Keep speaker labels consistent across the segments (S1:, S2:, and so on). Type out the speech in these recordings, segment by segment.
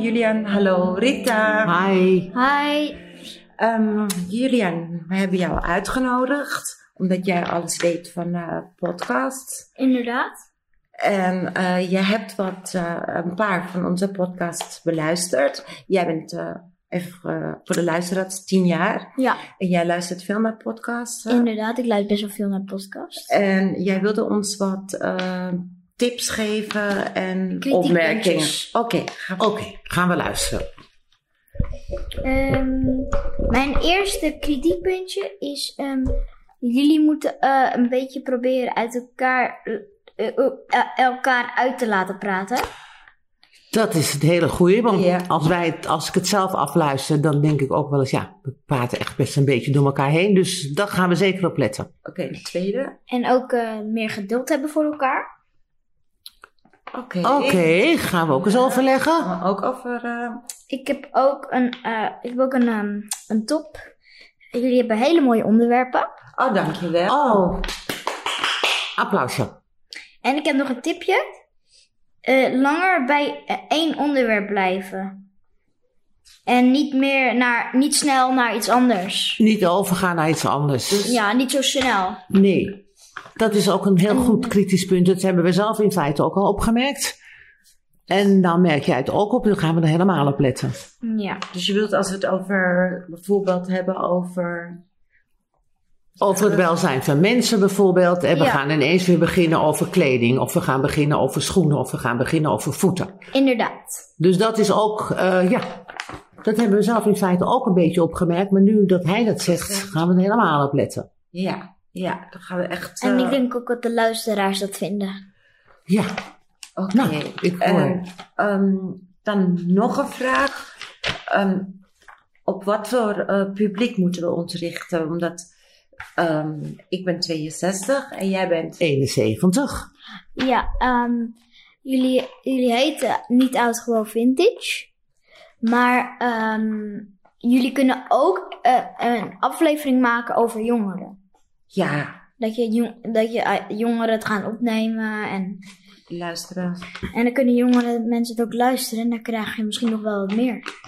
S1: Julian. Hallo Rita.
S2: Hi.
S3: Hi.
S1: Ehm, Julian, we hebben jou uitgenodigd omdat jij alles weet van eh podcasts.
S3: Inderdaad.
S1: En eh, je hebt wat, eh, een paar van onze podcasts beluisterd. Jij bent, eh, even eh, voor de luisteraars, tien jaar.
S3: Ja,
S1: En jij luistert veel naar podcasts. eh.
S3: inderdaad. Ik luister best wel veel naar podcasts.
S1: En jij wilde ons wat eh, tips geven en
S3: Kritiekpuntjes.
S1: opmerkingen. Oké, ga
S2: Oké, gaan we luisteren.
S3: Ehm, mijn eerste kritiekpuntje is... ehm, jullie moeten eh, een beetje proberen uit elkaar, eh, eh, eh, elkaar uit te laten praten.
S2: Dat is het hele goede, want
S1: Ja.
S2: als, wij het, als ik het zelf afluister, dan denk ik ook wel eens, ja, we praten echt best een beetje door elkaar heen. Dus daar gaan we zeker op letten.
S1: Oké, de tweede.
S3: En ook eh, meer geduld hebben voor elkaar.
S1: Oké.
S2: Oké, gaan we ook eens
S1: Ja.
S2: overleggen.
S1: Maar ook over. eh,
S3: Ik heb ook een, eh, ik heb ook een, ehm, een top. Jullie hebben hele mooie onderwerpen.
S1: Oh, dankjewel.
S2: Oh, applausje.
S3: En ik heb nog een tipje. Eh, langer bij eh, één onderwerp blijven. En niet meer naar, niet snel naar iets anders.
S2: Niet overgaan naar iets anders.
S3: Dus, Ja, niet zo snel.
S2: Nee, dat is ook een heel goed kritisch punt. Dat hebben we zelf in feite ook al opgemerkt. En dan merk jij het ook op, dan gaan we er helemaal op letten.
S3: Ja.
S1: Dus je wilt als we het over bijvoorbeeld hebben over.
S2: Over het welzijn van mensen bijvoorbeeld. En we
S3: Ja.
S2: gaan ineens weer beginnen over kleding. Of we gaan beginnen over schoenen. Of we gaan beginnen over voeten.
S3: Inderdaad.
S2: Dus dat is ook, eh, ja. Dat hebben we zelf in feite ook een beetje opgemerkt. Maar nu dat hij dat zegt, gaan we er helemaal op letten.
S1: Ja, ja, dan gaan we echt.
S3: En
S1: eh,
S3: ik denk ook dat de luisteraars dat vinden.
S2: Ja,
S1: Oké.
S2: nou, ik hoor.
S1: En, ehm, dan nog een vraag. Ehm, op wat voor eh, publiek moeten we ons richten? Omdat ehm, ik ben 62 en jij bent.
S2: 71.
S3: Ja, ehm, jullie, jullie heten niet oud gewoon vintage. Maar ehm, jullie kunnen ook eh, een aflevering maken over jongeren.
S1: Ja,
S3: Dat je, jong, dat je eh, jongeren het gaan opnemen en
S1: luisteren.
S3: En dan kunnen jongere mensen het ook luisteren en dan krijg je misschien nog wel wat meer.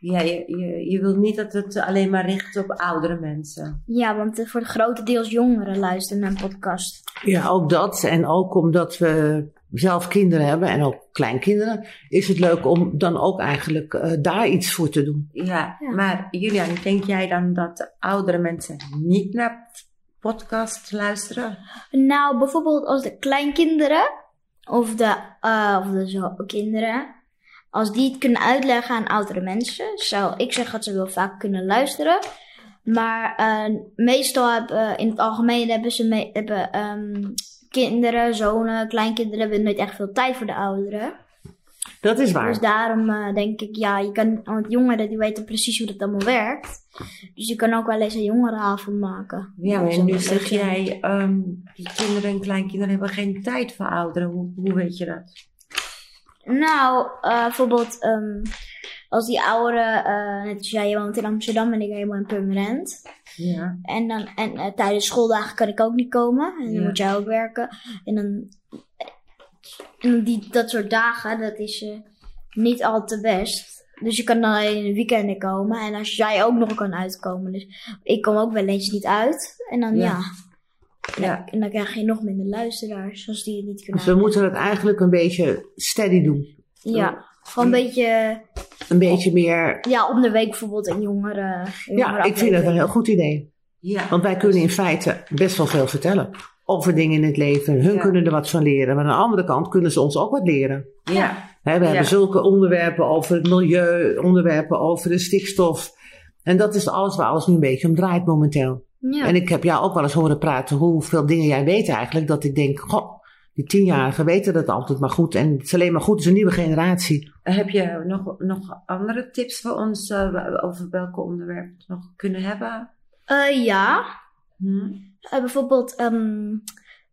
S1: Ja, je, je, je wilt niet dat het alleen maar richt op oudere mensen.
S3: Ja, want eh, voor het grotendeels jongeren luisteren naar een podcast.
S2: Ja, ook dat. En ook omdat we zelf kinderen hebben en ook kleinkinderen, is het leuk om dan ook eigenlijk eh, daar iets voor te doen.
S1: Ja,
S3: Ja.
S1: maar Julian, denk jij dan dat oudere mensen niet naar podcasts luisteren?
S3: Nou, bijvoorbeeld als de kleinkinderen of de, eh, of de zo, kinderen, als die het kunnen uitleggen aan oudere mensen, zou ik zeggen dat ze wel vaak kunnen luisteren. Maar eh, meestal hebben, in het algemeen hebben ze me- hebben, ehm, kinderen, zonen, kleinkinderen hebben nooit echt veel tijd voor de ouderen.
S2: Dat is waar.
S3: Dus daarom eh, denk ik, ja, je kan, want jongeren die weten precies hoe dat allemaal werkt. Dus je kan ook wel eens een jongerenavond maken.
S1: Ja,
S3: Dat
S1: maar
S3: zou
S1: nu
S3: wel leuk
S1: zeg
S3: zijn.
S1: jij, ehm, die kinderen en kleinkinderen hebben geen tijd voor ouderen. Hoe, hoe weet je dat?
S3: Nou, eh, bijvoorbeeld ehm, als die ouderen, eh, net als jij, je woont in Amsterdam en ik helemaal in Permanent.
S1: Ja.
S3: En, dan, en eh, tijdens schooldagen kan ik ook niet komen. En dan
S1: Ja.
S3: moet jij ook werken. En dan, eh, en dan die, dat soort dagen, dat is eh, niet al te best. Dus je kan dan alleen in de weekenden komen. En als jij ook nog kan uitkomen. Dus ik kom ook wel eens niet uit. En dan
S1: Ja.
S3: ja.
S1: ja.
S3: En dan krijg je nog minder luisteraars. Als die het niet kunnen
S2: Dus we moeten het eigenlijk een beetje steady doen.
S3: Ja. Gewoon een beetje...
S2: Een beetje meer.
S3: Ja, om de week bijvoorbeeld een jongere...
S2: Ja, ik vind dat een heel goed idee.
S1: ja.
S2: Want wij kunnen in feite best wel veel vertellen. Over dingen in het leven. Hun
S1: Ja.
S2: kunnen er wat van leren. Maar aan de andere kant kunnen ze ons ook wat leren.
S1: Ja.
S2: Hè, we
S1: Ja.
S2: hebben zulke onderwerpen over het milieu, onderwerpen over de stikstof. En dat is alles waar alles nu een beetje om draait momenteel.
S3: Ja.
S2: En ik heb jou ook wel eens horen praten hoeveel dingen jij weet eigenlijk. Dat ik denk, goh, die tienjarigen weten dat altijd maar goed. En het is alleen maar goed, het is een nieuwe generatie.
S1: Heb je nog, nog andere tips voor ons eh, wa- over welke onderwerpen we het nog kunnen hebben?
S3: Eh, ja.
S1: Hm?
S3: Eh, bijvoorbeeld ehm,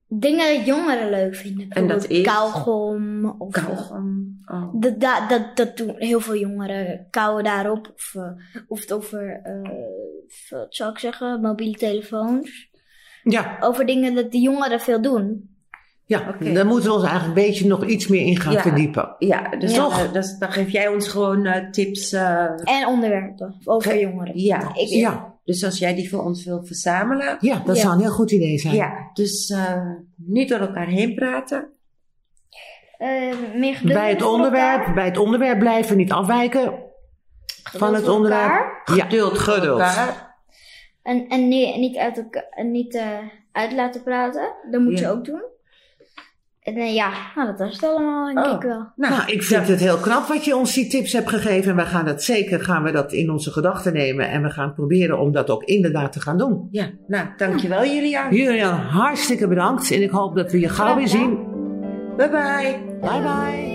S3: dingen die jongeren leuk vinden.
S1: En dat
S3: Bijvoorbeeld
S1: is?
S3: kauwgom. Of, eh,
S1: Kauwgom. Oh.
S3: Dat, dat, dat, dat doen heel veel jongeren. Kauwen daarop. Of, eh, of het over, eh, wat zou ik zeggen, mobiele telefoons.
S2: Ja,
S3: Over dingen dat de jongeren veel doen.
S2: Ja,
S1: Oké.
S2: daar moeten we ons eigenlijk een beetje nog iets meer in gaan
S1: Ja.
S2: verdiepen.
S1: Ja, dus,
S2: Toch?
S1: eh, dus dan geef jij ons gewoon eh, tips. eh,
S3: En onderwerpen over jongeren.
S1: ja.
S3: Ik-
S2: Ja,
S1: Dus als jij die voor ons wil verzamelen.
S2: ja dat
S3: Ja.
S2: zou een heel goed idee zijn.
S1: Ja, dus eh, niet door elkaar heen praten.
S3: Eh, meer geduld
S2: Bij het
S3: voor
S2: onderwerp,
S3: elkaar.
S2: bij het onderwerp blijven, niet afwijken van
S3: Geduld
S2: het
S3: voor
S2: onderwerp.
S3: elkaar.
S2: Ja,
S1: Geduld. voor
S2: Geduld.
S1: elkaar.
S3: En, en nee, niet, uit, elka- en niet eh, uit laten praten. Dat moet
S1: Ja.
S3: je ook doen. En eh, ja, nou, dat was het allemaal, denk
S1: Oh.
S3: ik wel.
S1: Nou,
S2: Nou, ik vind het heel knap wat je ons die tips hebt gegeven. En we gaan dat zeker gaan we dat in onze gedachten nemen. En we gaan proberen om dat ook inderdaad te gaan doen.
S1: ja, nou, dankjewel Julia.
S2: Julian, hartstikke bedankt. En ik hoop dat we je gauw weer zien.
S1: Bye bye.
S2: Bye bye.